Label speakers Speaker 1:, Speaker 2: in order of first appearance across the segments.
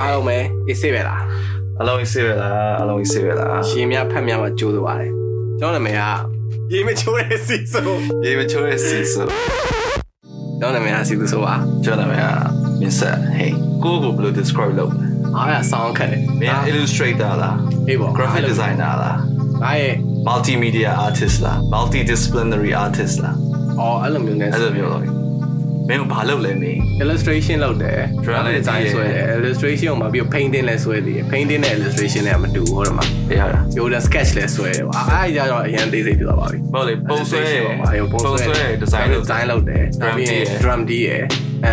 Speaker 1: အားလုံးပဲအေးဆေးပဲလား
Speaker 2: အလုံးကြီးစေးပဲလားအလုံးကြီးစေးပဲလား
Speaker 1: ရေမြဖက်မြမှာကျိုးသွားပါတယ်ကျွန်တော်နာမည်ကရေမချိုးတဲ့စီဆို
Speaker 2: ရေမချိုးတဲ့စီဆို
Speaker 1: ကျွန်တော်နာမည်ကစီသူဆိုပါ
Speaker 2: ကျွန်တော်နာမည်ကမင်းဆက်ဟေးကိုယ့်ကိုဘယ်လို describe လုပ်မ
Speaker 1: အားရဆောင်းခက်တယ်
Speaker 2: လဲမင်းက illustrator လား
Speaker 1: အေးပေါ့
Speaker 2: graphic designer လား
Speaker 1: ငါရဲ့
Speaker 2: multimedia artist လား multidisciplinary artist လား
Speaker 1: အော်အဲ့လိုမျိုးနဲ့
Speaker 2: အဲ့လိုမျိုးလို့မင်းကဘာလုပ်လဲမင်း
Speaker 1: illustration လုပ်တယ်
Speaker 2: Drawing
Speaker 1: graphic design
Speaker 2: ရေးတယ်
Speaker 1: ဆွဲတယ် illustration ကိုမှာပြီးတော့ painting လည်းဆွဲသေးတယ် painting နဲ့ illustration လည်းမတူဘူးဟိုတော့မှာ
Speaker 2: ရတာ
Speaker 1: ရိုးလည်း sketch လည်းဆွဲတယ်ပေါ့အားအားကြတော့အရင်သေးသေးပြသွားပါပြီ
Speaker 2: မဟုတ်လေပုံဆွဲရယ်
Speaker 1: ပုံ
Speaker 2: ပုံဆွဲ
Speaker 1: ဆွဲ
Speaker 2: ရယ် design လုပ်
Speaker 1: design လုပ်တယ်
Speaker 2: Drum D ရယ်
Speaker 1: drum D ရယ်အဲ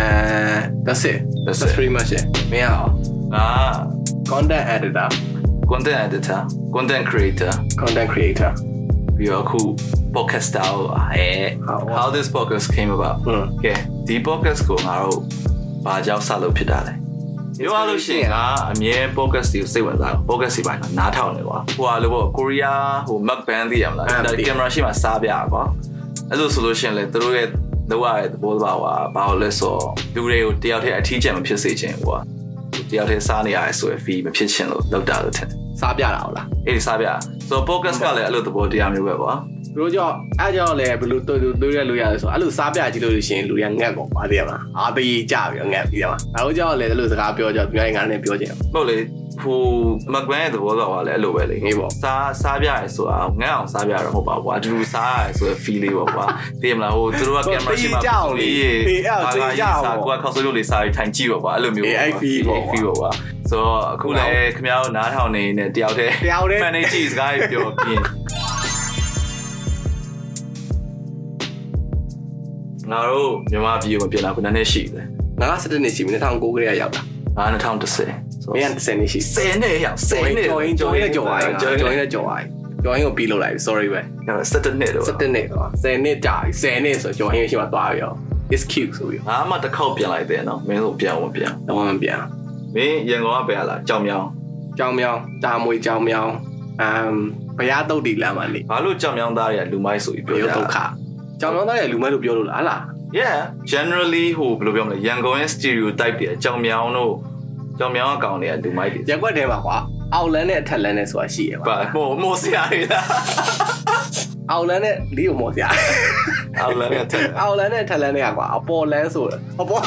Speaker 1: that's it
Speaker 2: That's
Speaker 1: that's
Speaker 2: it.
Speaker 1: pretty much it မင်းအောင်
Speaker 2: ငါ
Speaker 1: content editor
Speaker 2: Ah. content editor content creator
Speaker 1: content creator
Speaker 2: ပြီးတော့အခု podcaster ဟောအဲ
Speaker 1: ဟုတ်ပါ
Speaker 2: how this podcast came about
Speaker 1: ဟုတ်
Speaker 2: ကဲဒီ podcast ကိုငါတို့ဘာကြောင့်စလုပ်ဖြစ်တာလဲပြောရလို့ရှိရင်ငါအမြဲ podcast တွေကိုစိတ်ဝင်စားတယ် podcast တွေပိုင်းနားထောင်နေကွာဟိုဟာလို့ပေါ့ကိုရီးယားဟို Mac Band သိရမလား
Speaker 1: အဲ့ဒါ
Speaker 2: ဒါ
Speaker 1: သိ
Speaker 2: ကင်မရာရှိမှစားပြရကွာအဲ့လိုဆိုလို့ရှိရင်လေသူတို့ရဲ့လောက်ရတဲ့သဘောတဘာဝကဘာလို့လဲဆိုတော့လူတွေကိုတယောက်တည်းအထီးကျန်မဖြစ်စေချင်ဘူးကွာတယောက်တည်းစားနေရတယ်ဆိုရင် fee မဖြစ်ချင်လို့လောက်တာလို့ထင်တယ်
Speaker 1: စားပြတာဟုတ်လား
Speaker 2: အေးစားပြဆိုတော့ podcast ကလည်းအဲ့လိုသဘောတရားမျိုးပဲကွာ
Speaker 1: သူတို့ကြောင့်အဲ့ကြောင့်လည်းဘယ်လိုတွေ့တွေ့ရလို့ရလဲဆိုတော့အဲ့လိုစားပြကြည့်လို့လို့ရှိရင်လူတွေကငတ်ကုန်ပါသေးတယ်မလားအာသေးကြီးကြပြီးတော့ငတ်ပြီးတယ်မလားဒါတို့ကြောင့်လည်းအဲ့လိုစကားပြောကြသူများငါနဲ့ပြောကြတယ်
Speaker 2: ဟုတ်လေဟိုမက်ဘန်ရဲ့သဘောတော့ဟာလေအဲ့လိုပဲလေ
Speaker 1: ဟေးပေါ့
Speaker 2: စားစားပြရဲဆိုတာငတ်အောင်စားပြရတော့မဟုတ်ပါဘူးကွာအတူတူစားရဲဆိုရယ် feel လေးပေါ့ကွာသိရမလားဟိုသူတို့ကကင်မရာရှိမှ
Speaker 1: ပေးကြအောင်လေပေးအဲ့ဒါ
Speaker 2: စားကိုကခောက်ဆိုးလို့လေးစားပြီးထိုင်ကြည့်ပေါ့ကွာအဲ့လိုမျိုး
Speaker 1: အေးအဲ့ feel ပေါ့ကွာ
Speaker 2: feel ပေါ့ကွာဆိုတော့အခုလည်းခင်ဗျားတို့နားထောင်နေနေတဲ့တယောက်တည်း
Speaker 1: တယောက်တည်း
Speaker 2: manage စကားကြီးပြော ပြင်းငါတို့မြန်မာပြည်ကိုမပြန်လာဘူးနည်းနည်းရှိတယ်
Speaker 1: ငါက17နှစ်ရှိပြီ2009ကလေးကရောက်တာ
Speaker 2: ငါ2010ဆို
Speaker 1: မင်း
Speaker 2: တော့
Speaker 1: က10နှစ်ရှိ
Speaker 2: စင်းနေရောက်စင်းနေ
Speaker 1: ကျော်ရင်ကျော်ရင်ကျော်ပါရင်ကျော်ရင်ကျော်ပါရင်ကျော်ရင်ကိုပြီးလောက်လိုက်ပြီ sorry ပဲ
Speaker 2: ်17နှစ်တော့
Speaker 1: စက်တင်နှစ်တော့10နှစ်ကြာပြီ10နှစ်ဆိုတော့ကျွန်တော်အရင်ရှိမှသွားပြီရော is cute ဆိုပြီး
Speaker 2: ငါမှတစ်ခေါက်ပြန်လိုက်တယ်နော်မင်းတို့ပြန်ဝင်ပြန်
Speaker 1: တော့တော့မပြန်
Speaker 2: မင်းရန်ကုန်ကပြန်လာကြောင်မြောင်း
Speaker 1: ကြောင်မြောင်တာမွေကြောင်မြောင်အမ်ဘုရားတုတ်တီလမ်းမှာနေ
Speaker 2: ဘာလို့ကြောင်မြောင်းသားတွေကလူမိုက်ဆိုပြီးပြော
Speaker 1: ဘု
Speaker 2: ကြ
Speaker 1: ရားဒုက္ခ
Speaker 2: တာ
Speaker 1: ကြောင်မြောင်သားရဲ့လူမဲလို့ပြောလို့လားဟလား
Speaker 2: Yeah generally ဟိုဘယ်လိုပြောမလဲရန်ကုန်ရဲ့ stereotype တွေကကြောင်မြောင်းတို့ကြောင်မြောင်းအကောင်တွေကလူမိုက်တွေ
Speaker 1: ရက်ွက်တဲမှာကွာအောက်လန်းနဲ့အထက်လန်းနဲ့ဆိုတာရှိရပါ
Speaker 2: ပါမို့မို့စရာတွေလား
Speaker 1: အောက်လန်းနဲ့ဒီကိုမော်စရာ
Speaker 2: အောက်လမ်းကထက်
Speaker 1: အောက်လန်းနဲ့အထက်လန်းနဲ့ကွာအပေါ်လန်းဆိုတာအပေါ်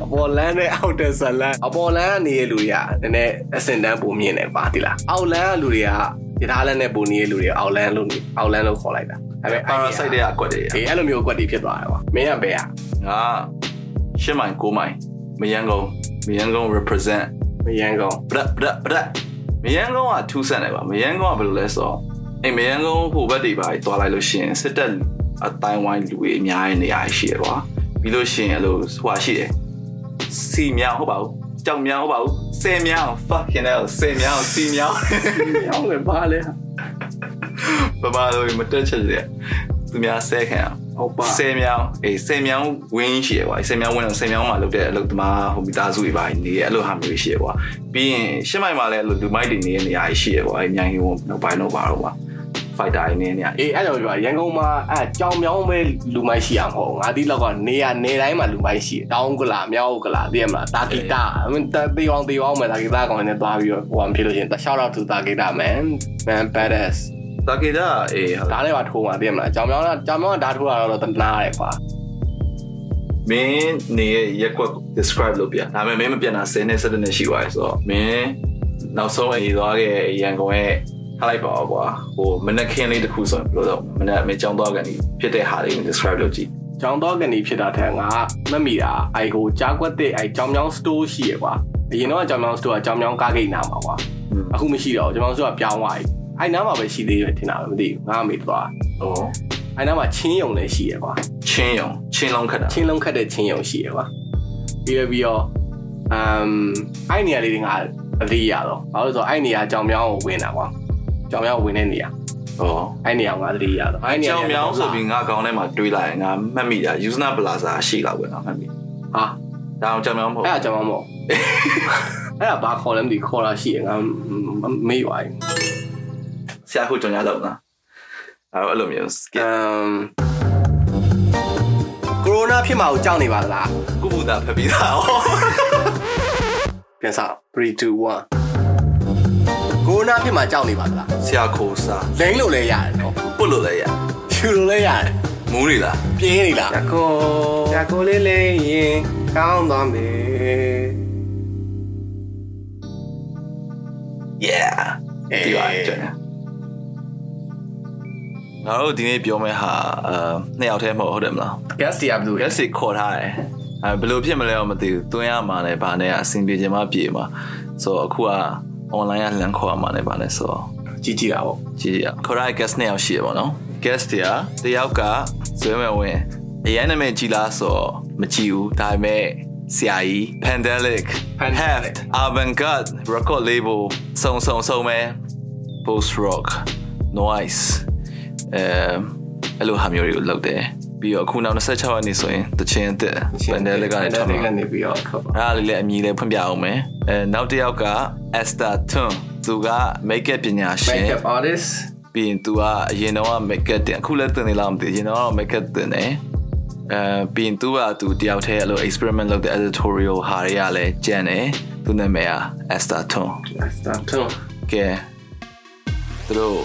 Speaker 1: အပေါ်လန်းနဲ့အောက်တဲ့ဇလန်းအပေါ်လန်းကနေရလူတွေကနည်းနည်းအစင်တန်းပုံမြင်တယ်ပါတိလားအောက်လန်းကလူတွေကရထားလန်းနဲ့ပုံနေရလူတွေအောက်လန်းလို့အောက်လန်းလို့ခေါ်လိုက်တာဒါပေမဲ့
Speaker 2: parasite တွေကအကွက်တွေ
Speaker 1: အေးအဲ့လိုမျိုးအကွက်တွေဖြစ်သွားတယ်ကွာမင်းကဘယ်อ่ะ
Speaker 2: ငါရှစ်မိုင်ကိုးမိုင်မရန်ကုန်မရန်ကုန် represent
Speaker 1: မရန်ကုန်
Speaker 2: ပရက်ပရက်ပရက်မယန်းကုန်းကထူးဆန်းတယ်ပါမယန်းကုန်းကဘယ်လိုလဲဆိုတော့အဲမယန်းကုန်းဟိုဘက်တွေပါကြီးသွားလိုက်လို့ရှိရင်စစ်တပ်အတိုင်းဝိုင်းလူတွေအများကြီးနေရာရှိရယ်ကွာပြီးလို့ရှိရင်အဲ့လိုဟိုဟာရှိတယ်စီမြောင်ဟုတ်ပါဘူးကြောင်မြောင်ဟုတ်ပါဘူးစင်မြောင် fucking hell စင်မြောင်စီမြောင်
Speaker 1: မရန်ကုန်ဘာလဲ
Speaker 2: ပမာလိုမတက်ချက်စရသူများဆဲခင်အောင်
Speaker 1: ဟုတ်ပါ
Speaker 2: ဆယ်မြောင်အေးဆယ်မြောင်ဝင်းရှိရယ်ကွာဆယ်မြောင်ဝင်းတော့ဆယ်မြောင်မှာလုပ်တဲ့အလုပ်သမားဟိုမိသားစုတွေပါနေရအဲ့လိုဟာမျိုးရှိရယ်ကွာပြီးရင်ရှစ်မိုင်မှာလည်းအဲ့လိုလူမိုက်တွေနေတဲ့နေရာကြီးရှိရယ်ကွာအမြိုင်ဟိုနောက်ပိုင်းတော့ပါတော့ကွာဖိုက်တာတွေနေတဲ့နေရာကြီး
Speaker 1: အေးအဲ့တော့ပြောရန်ကုန်မှာအဲကြောင်မြောင်းပဲလူမိုက်ရှိရမှာမဟုတ်ဘူးငါတိလောက်ကနေရနေတိုင်းမှာလူမိုက်ရှိတယ်တောင်းကလာမြောင်းကလာသိရမလားတာဂီတာအမင်းတာတေအောင်တေအောင်မယ်တာဂီတာကောင်နဲ့သွားပြီးတော့ဟိုအမဖြစ်လို့ရှရင်တခြားတော့သူတာဂီတာမယ် man badass
Speaker 2: တာကေတာအေးဟုတ်လား
Speaker 1: ဒါလည်းပါထိုးမှာသိရမလားကြောင်မြောင်းကကြောင်မြောင်းကဓာတ်ထိုးတာတော့တနာရတယ်ကွာ
Speaker 2: မင်းနေရရက်ကွက် describe လုပ်ပြဒါပေမဲ့မင်းမပြန်တာ10နဲ့17နဲ့ရှိသွားရယ်ဆိုတော့မင်းနောက်ဆုံးအေးသွားခဲ့ရန်ကုန်ရဲ့ထားလိုက်ပါတော့ကွာဟိုမနက်ခင်းလေးတစ်ခုဆိုရင်ဘယ်လိုတော့မနက်မင်းကြောင်းသွားကန်ဒီဖြစ်တဲ့ဟာလေးကို describe လုပ်ကြည့်
Speaker 1: ကြောင်တော့ကနေဖြစ်တာထက်ငါမက်မိတာအဲဟိုကြားကွက်တဲ့အဲကြောင်မြောင်း store ရှိရကွာအရင်တော့ကြောင်မြောင်း store ကကြောင်မြောင်းကားဂိတ်နာမှာကွာ အခုမရှိတော့ဘူးကျွန်တော်တို့ကပြောင်းသွားပြီအဲ့နားမှာပဲရှိသေးတယ်ထင်တာပဲမသိဘူးငါအမေတို့သွား
Speaker 2: ဟုတ်
Speaker 1: အဲ့နားမှာချင်းယုံလည်းရှိရကွာ
Speaker 2: ချင်းယုံချင်းလုံးခက်တာ
Speaker 1: ချင်းလုံးခတ်တဲ့ချင်းယုံရှိရကွာပြီးရပြီးတော့အမ်အဲ့နေရာလေးတွေငါအသေးရတော့ဘာလို့လဲဆိုတော့အဲ့နေရာကြောင်မြောင်းကိုဝင်တာကွာကြောင်မြောင်းကိုဝင်တဲ့နေရာ
Speaker 2: ဟော
Speaker 1: အဲ့နေရာကိုငါအသေးရတော့အဲ့နေရာ
Speaker 2: ကျောင်းမြောင်းဆိုပြီးငါခေါင်းထဲမှာတွေးလိုက်ရင်ငါမှတ်မိတာ Usna Plaza ရှိလောက်ပဲငါမှတ်မိ
Speaker 1: ဟာ
Speaker 2: ဒါအောင်ကျောင်းမြောင်းမဟုတ်
Speaker 1: အဲ့ဒါကြောင်မြောင်းမ ဟုတ်အဲ့ဒါဘာခေါ်လဲမသိဘူးခေါ်တာရှိရငါမမေ့ပါဘူး
Speaker 2: ဆရာခုကျောင်းရလောက်လားအဲ့တော့အဲ့လိုမျိုး
Speaker 1: အ
Speaker 2: skip
Speaker 1: မ်ကိုရိုနာဖြစ်မှာကိုကြောက်နေပါလား
Speaker 2: ကုဘူတာဖက်ပြီးသားဟော
Speaker 1: ပြန်စ3 2 1ကိုရိုနာဖြစ်မှာကြောက်နေပါသလား
Speaker 2: ဆရာခိုးစား
Speaker 1: လိမ့်လို့လည်းရတယ်နော်
Speaker 2: ပုတ်လို့လည်းရ
Speaker 1: ယူလို့လည်းရတယ်
Speaker 2: မူးနေလား
Speaker 1: ပြင်းနေလားရကိုရကိုလေးလေးရင်ကောင်းသွားမယ်
Speaker 2: yeah
Speaker 1: အေး
Speaker 2: ဒီပါကျွန်တော်ငါတို့ဒီနေ့ပြောမယ့်ဟာအဲနှစ်ယောက်တည်းမဟုတ်ဟုတ်တယ်မလား
Speaker 1: guest တရားဘယ်သူလဲ
Speaker 2: guest တွေခေါ်ထားတယ်အဲဘယ်လိုဖြစ်မလဲတော့မသိဘူးတွင်းရမှာလည်းဘာနဲ့ကအဆင်ပြေချင်မှပြေမှာဆိုတော့အခုက online ကလမ်းခေါ်ရမှာလည်းဘာနဲ့ဆိုတော့
Speaker 1: ကြီးကြီးတာပေါ့
Speaker 2: ကြည့်ရအောင်ခရိုင် guest နှစ်ယောက်ရှိရပါတော့ guest တွေကတယောက်ကဇွဲမဲ့ဝင်အရန်နာမည်ကြည်လားဆိုတော့မကြည့်ဘူးဒါပေမဲ့ဆရာကြီး pandemic
Speaker 1: Pandelic
Speaker 2: heft avant-garde record label စုံစုံစုံမဲ့ post rock noise အဲအဲ့လိုဟာမျိုးတွေကိုလုပ်တယ်ပြီးတော့အခုနောက်26ရက်နေ့ဆိုရင်တချင်းအစ် pandemic ကနေထပ်
Speaker 1: တယ်
Speaker 2: မှာ
Speaker 1: ကနေပြီးတော့ထွက်ပါ
Speaker 2: အဲ့ဒါလေးလည်းအမည်လည်းဖွင့်ပြအောင်မယ်အဲနောက်တစ်ယောက်က Esther Tun သူက make up ပညာရှင်
Speaker 1: makeup artist
Speaker 2: ပြီးရင် तू ကအရင်တော့ make up တင်အခုလည်းတင်နေလားမသိဘူးအရင်တော့ make up တင်နေအဲပြီးရင် तू က तू တယောက်တည်းအဲ့လို experiment လုပ်တဲ့ editorial ဟာတွေကလည်းကျန်တယ်သူနာမည်က Esther Tun
Speaker 1: start to
Speaker 2: ကဲသူတို့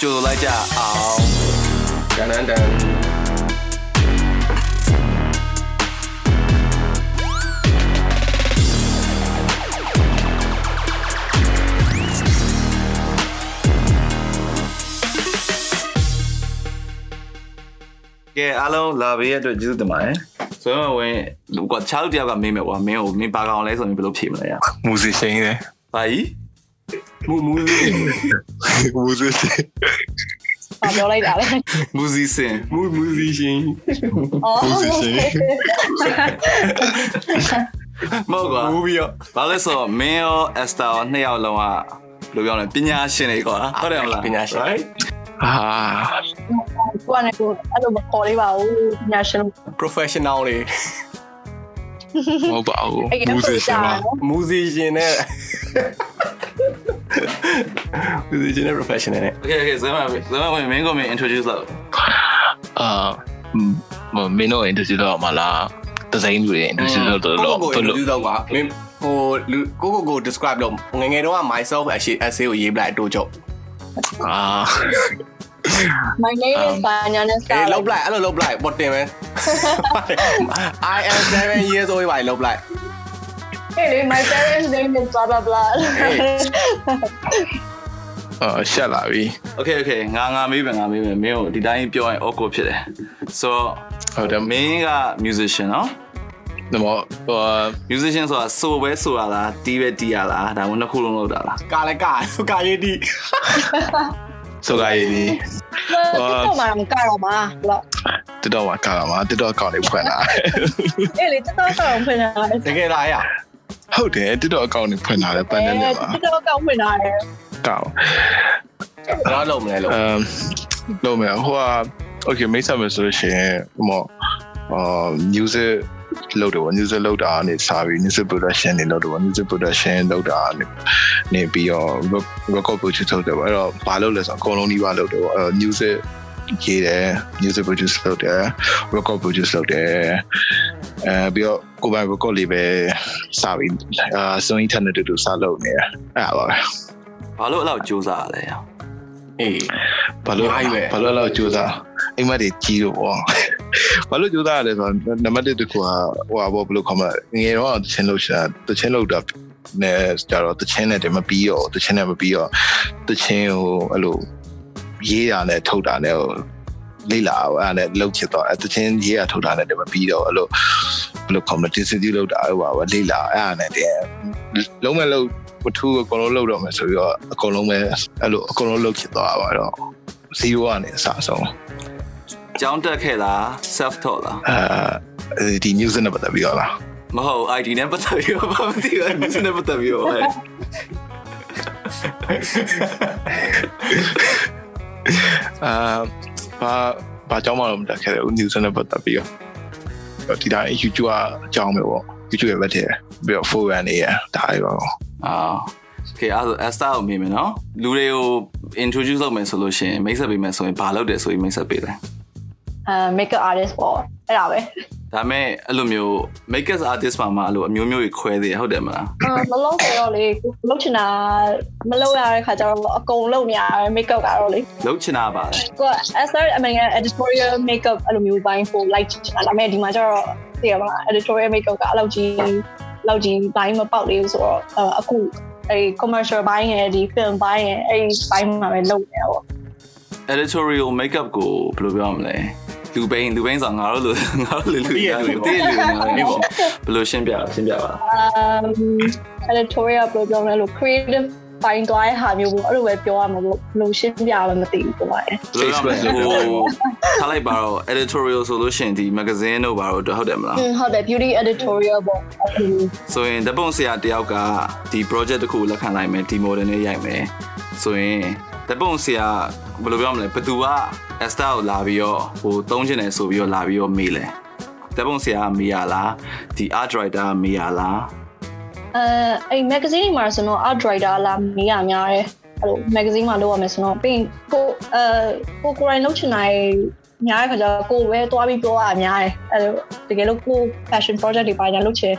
Speaker 2: ကြိုလိုက်ကြအောင်
Speaker 1: ကန်နန်တန်
Speaker 2: ကဲအားလုံးလာပေးရတဲ့အတွက်ကျေးဇူးတင်ပါတယ်ဆိုတော့ဝင်လူကချားလူတစ်ယောက်ကမေးမယ်ကွာမင်းကိုမင်းပါကောင်လဲဆိုရင်ဘယ်လိုဖြေမလဲရ
Speaker 3: မူစီရှင်ကြီးတယ်
Speaker 2: ဘာကြီး
Speaker 1: မူမူ
Speaker 3: မူစီရှင်
Speaker 4: ။ဘာပြောလိုက်တာလဲ
Speaker 2: မူစီစင်
Speaker 1: မူမူစီရှင်
Speaker 4: ။အော်
Speaker 2: မဟုတ်ကွာ
Speaker 1: မူပြီးတော့
Speaker 2: ဘာလဲဆိုတော့မင်းရောအက်စတာရောနှစ်ယောက်လုံးကဘယ်လိုပြောလဲပညာရှင်တွေကွာဟုတ်တယ်မလား
Speaker 1: ပညာရှင် right
Speaker 3: အာ
Speaker 4: ။ကိုကလည်းကိုအဲ့လိုမခေါ်လေးပါဘူး။ညာရှင်
Speaker 1: professional တွေ
Speaker 3: မဟုတ်ပါဘူး
Speaker 4: အဲ့
Speaker 3: မူစီရှင်ပါ
Speaker 1: မူစီရှင်နဲ့မူစီရှင်နဲ့ professional နဲ့
Speaker 2: โอเคโอเคဇမပဲဇမဝင်မင်းကိုမင်း introduce လုပ်
Speaker 3: အာမမင်းတို့ interview တော့မလားတစိမ့်လူတွေ interview တော့တော်တော်
Speaker 1: ကို
Speaker 3: ဘ
Speaker 1: ကို
Speaker 3: လို့
Speaker 1: လူတော့ကမင်းဟိုလူကိုကိုကို describe လုပ်ငယ်ငယ်တော့က myself အရှိ essay ကိုရေးပလိုက်အတိုးချုပ်
Speaker 3: အာ
Speaker 4: ။ My name is Banya Nesta
Speaker 1: เออลบไล่อะลบไล่บดเต็มมั้ย I am 7 years old ไปลบไล่
Speaker 4: ။ Hey, my parents name is blah blah blah.
Speaker 3: အာရှက်လာပြီ
Speaker 2: โอเคโอเคငါငါမေးပဲငါမေးပဲမင်းကိုဒီတိုင်းပြောရင် awkward ဖြစ်တယ်ဆို
Speaker 3: ဟုတ်တယ်
Speaker 2: တော့
Speaker 3: မ
Speaker 2: မ
Speaker 3: င်း
Speaker 2: င်းက musician เนาะ
Speaker 3: တော့ဟို
Speaker 2: musician ဆိုတာဆိုပဲဆိုရလားတီးပဲတီးရလားဒါမှမဟုတ်နှစ်ခုလုံးလုပ်တာလား
Speaker 1: กาละกาสุกาเยดิ
Speaker 3: ဆိုကြရည်ဒီ
Speaker 4: ဟုတ်ကဲ့မှာကတော့မှာဟုတ်လား
Speaker 3: တက်တော့ကလာမှာတက်တော့ကောက်လေးဖွင့်လာ
Speaker 4: ။အဲ့လေတက်တော့ကောင်ဖွင့်လာတယ်
Speaker 1: ตะเกไรอ่ะ
Speaker 3: ဟုတ်တယ်တက်တော့အကောင့်လေးဖွင့်လာတယ်ပ
Speaker 4: ။
Speaker 3: န်တ
Speaker 4: အဲ
Speaker 3: ယ်လေးပါ
Speaker 4: တက်တော့ကောင်ဖွင့်လာတယ်
Speaker 3: ကောက်
Speaker 1: แล้วลงมั้ยลง
Speaker 3: အမ်လုံးမယ်ဟိုက okay မိတ်ဆက်မယ်ဆိုလို့ရှိရင်ဟိုမောအာ music လောက်တော့ music လောက်တာနေစာပြီး music production နေလောက်တော့ music production လောက်တာနေနေပြီးတော့ rec- record produce လုပ်တယ်ပေါ့အဲ့တော့ဘာလုပ်လဲဆိုတော့အကုန်လုံးကြီးပါလုပ်တယ်ပေါ့အဲ့တော့ music ရေးတယ် music produce လုပ်တယ် record produce လုပ်တယ်အဲပြီးတော့ကိုယ်ပိုင် record လေးပဲစပြီးအာ Sony Internet တူတူစလုပ်နေတယ်အဲ့ဒါပါပဲ
Speaker 2: ဘာလို့အဲ့လောက်စူးစမ်းရလဲရ
Speaker 1: เอ
Speaker 3: ဘာလို့
Speaker 1: အားကြီးပဲ
Speaker 3: ဘာလို့အဲ့လောက်ကြိုးစား အိမ်မက်တွေကြီးတော့ဗောဘာလို့ကြိုးစားရလဲဆိုတော့နံပါတ်1တကူကဟိုဟာဗောဘယ်လိုခေါ်မလဲငယ်တော့တချင်းလို့ရှာတချင်းလို့တာနဲကြတော့တချင်းနဲ့တည်းမပြီးတော့တချင်းနဲ့မပြီးတော့တချင်းဟိုအဲ့လိုရေးတာနဲ့ထုတ်တာနဲ့ဟိုလေးလာအောင်အဲ့ဒါနဲ့လောက်ချစ်တော့အဲ့တချင်းရေးတာထုတ်တာနဲ့တည်းမပြီးတော့အဲ့လိုဘယ်လိုခေါ်မလဲ distribute လောက်တာဟိုဟာဗောလေးလာအဲ့ဒါနဲ့တည်းလုံးမဲ့လုံးပထူအကုန်လုံးလောက်တော့မယ်ဆိုပြီးတော့အကုန်လုံးပဲအဲ့လိုအကုန်လုံးလောက်ချစ်သွားတာပါတော့0ကနေအစအဆုံး
Speaker 2: ကျောင်းတက်ခဲ့လား self taught လား
Speaker 3: အဲဒီ news နဲ့ပတ်သက်ပြီးတော့လား
Speaker 2: မဟုတ် ID နဲ့ပတ်သက်ပြီးတော့ဘာမသိဘူး ID နဲ့ပတ်သက်ပြီးတော့ဟဲ့
Speaker 3: အာဘာဘာကြောင့်မှတော့မတက်ခဲ့ဘူး news နဲ့ပတ်သက်ပြီးတော့ဒီတိုင်း YouTube ကအကြောင်းပဲပေါ့ YouTube ရဲ့ဘက်ထဲပြီးတော့ forum နေရဒါတွေပါပေါ့
Speaker 2: อ่าโอเคအဲ့ဒါဆို Esther ကိုမြင်မယ်เนาะလူတွေကို introduce လုပ်မယ်ဆိုလို့ရှရင် mix up ပေးမယ်ဆိုရင်ဘာလုပ်တယ်ဆိုပြီး mix up ပေးတယ်
Speaker 4: ။အာ make up artist ပေါ့။အဲ့ဒါပဲ။
Speaker 2: ဒါပေမဲ့အဲ့လိုမျိုး makers artist မှာမှအဲ့လိုအမျိုးမျိုးကြီးခွဲသေးတယ်ဟုတ်တယ်မလား
Speaker 4: အာမလုံးဆိုတော့လေကိုလုံးချင်တာမလုံးရတဲ့ခါကျတော့အကုန်လုံးနေရတယ် makeup ကတော့လေ
Speaker 2: လုံးချင်တာပါတယ်
Speaker 4: ကိုက SR American editorial makeup အဲ့လိုမျိုးပိုင်းပို့လိုက်ချင်တာဒါပေမဲ့ဒီမှာကျတော့သိရမလား editorial makeup ကအဲ့လောက်ကြီးလောက်ကြီးဘိုင်းမပေါက်လေးဆိုတော့အာအခုအဲ့ဒီ commercial ဘိုင်းရဲ့ဒီ film ဘိုင်းရဲ့အဲ့ဒီဘိုင်းမှာပဲလုပ်နေတာပေါ့
Speaker 2: editorial makeup ကိုဘယ်လိုပြောမလဲလူပိန်လူပိန်ဆိုငါတို့လိုငါတို့လိုလူတည့်လူနေပေါ့ဘယ်လိုရှင်းပြရှင်းပြပါ
Speaker 4: um editorial program လဲလို့ creative ပိုင်းသွားတဲ့ဟာမျိုးပေါ့အဲ့လိုပဲပြောရမှာပေါ့ဘယ်လိုရှင်းပြရလဲမသိဘူးပေါ့
Speaker 2: ဘယ်လိုလဲ
Speaker 3: Facebook
Speaker 2: ဟိုထားလိုက်ပါတော့ editorial ဆိုလို့ရှရင်ဒီ magazine တို့ပါတော့အတွက်ဟုတ်တယ်မလား
Speaker 4: อืมဟုတ်တယ် beauty editorial ပေါ့အဲ့လိုမျိုး
Speaker 2: ဆိုရင်ဓာတ်ပုံဆရာတယောက်ကဒီ project တစ်ခုလက်ခံလိုက်မယ်ဒီ model နဲ့ရိုက်မယ်ဆိုရင်ဓာတ်ပုံဆရာဘယ်လိုပြောမလဲဘသူက Esther ကိုလာပြီးတော့ဟိုတုံးချင်တယ်ဆိုပြီးတော့လာပြီးတော့မေးလဲဓာတ်ပုံဆရာကမေးရလားဒီ art director ကမေးရလား
Speaker 4: အဲအဲ့ magazine တွေမှာဆိုတော့ art writer လာမေးရများတယ်အဲ့လို magazine မှာလုပ်ရမယ်ဆိုတော့ပြီးရင်ကိုအဲကိုကိုရိုင်းလုပ်ချင်တာရဲ့များတဲ့ခါကျတော့ကိုပဲသွားပြီးပြောရအများတယ်အဲ့လိုတကယ်လို့ကို fashion project တွေပါညာလုပ်ချင်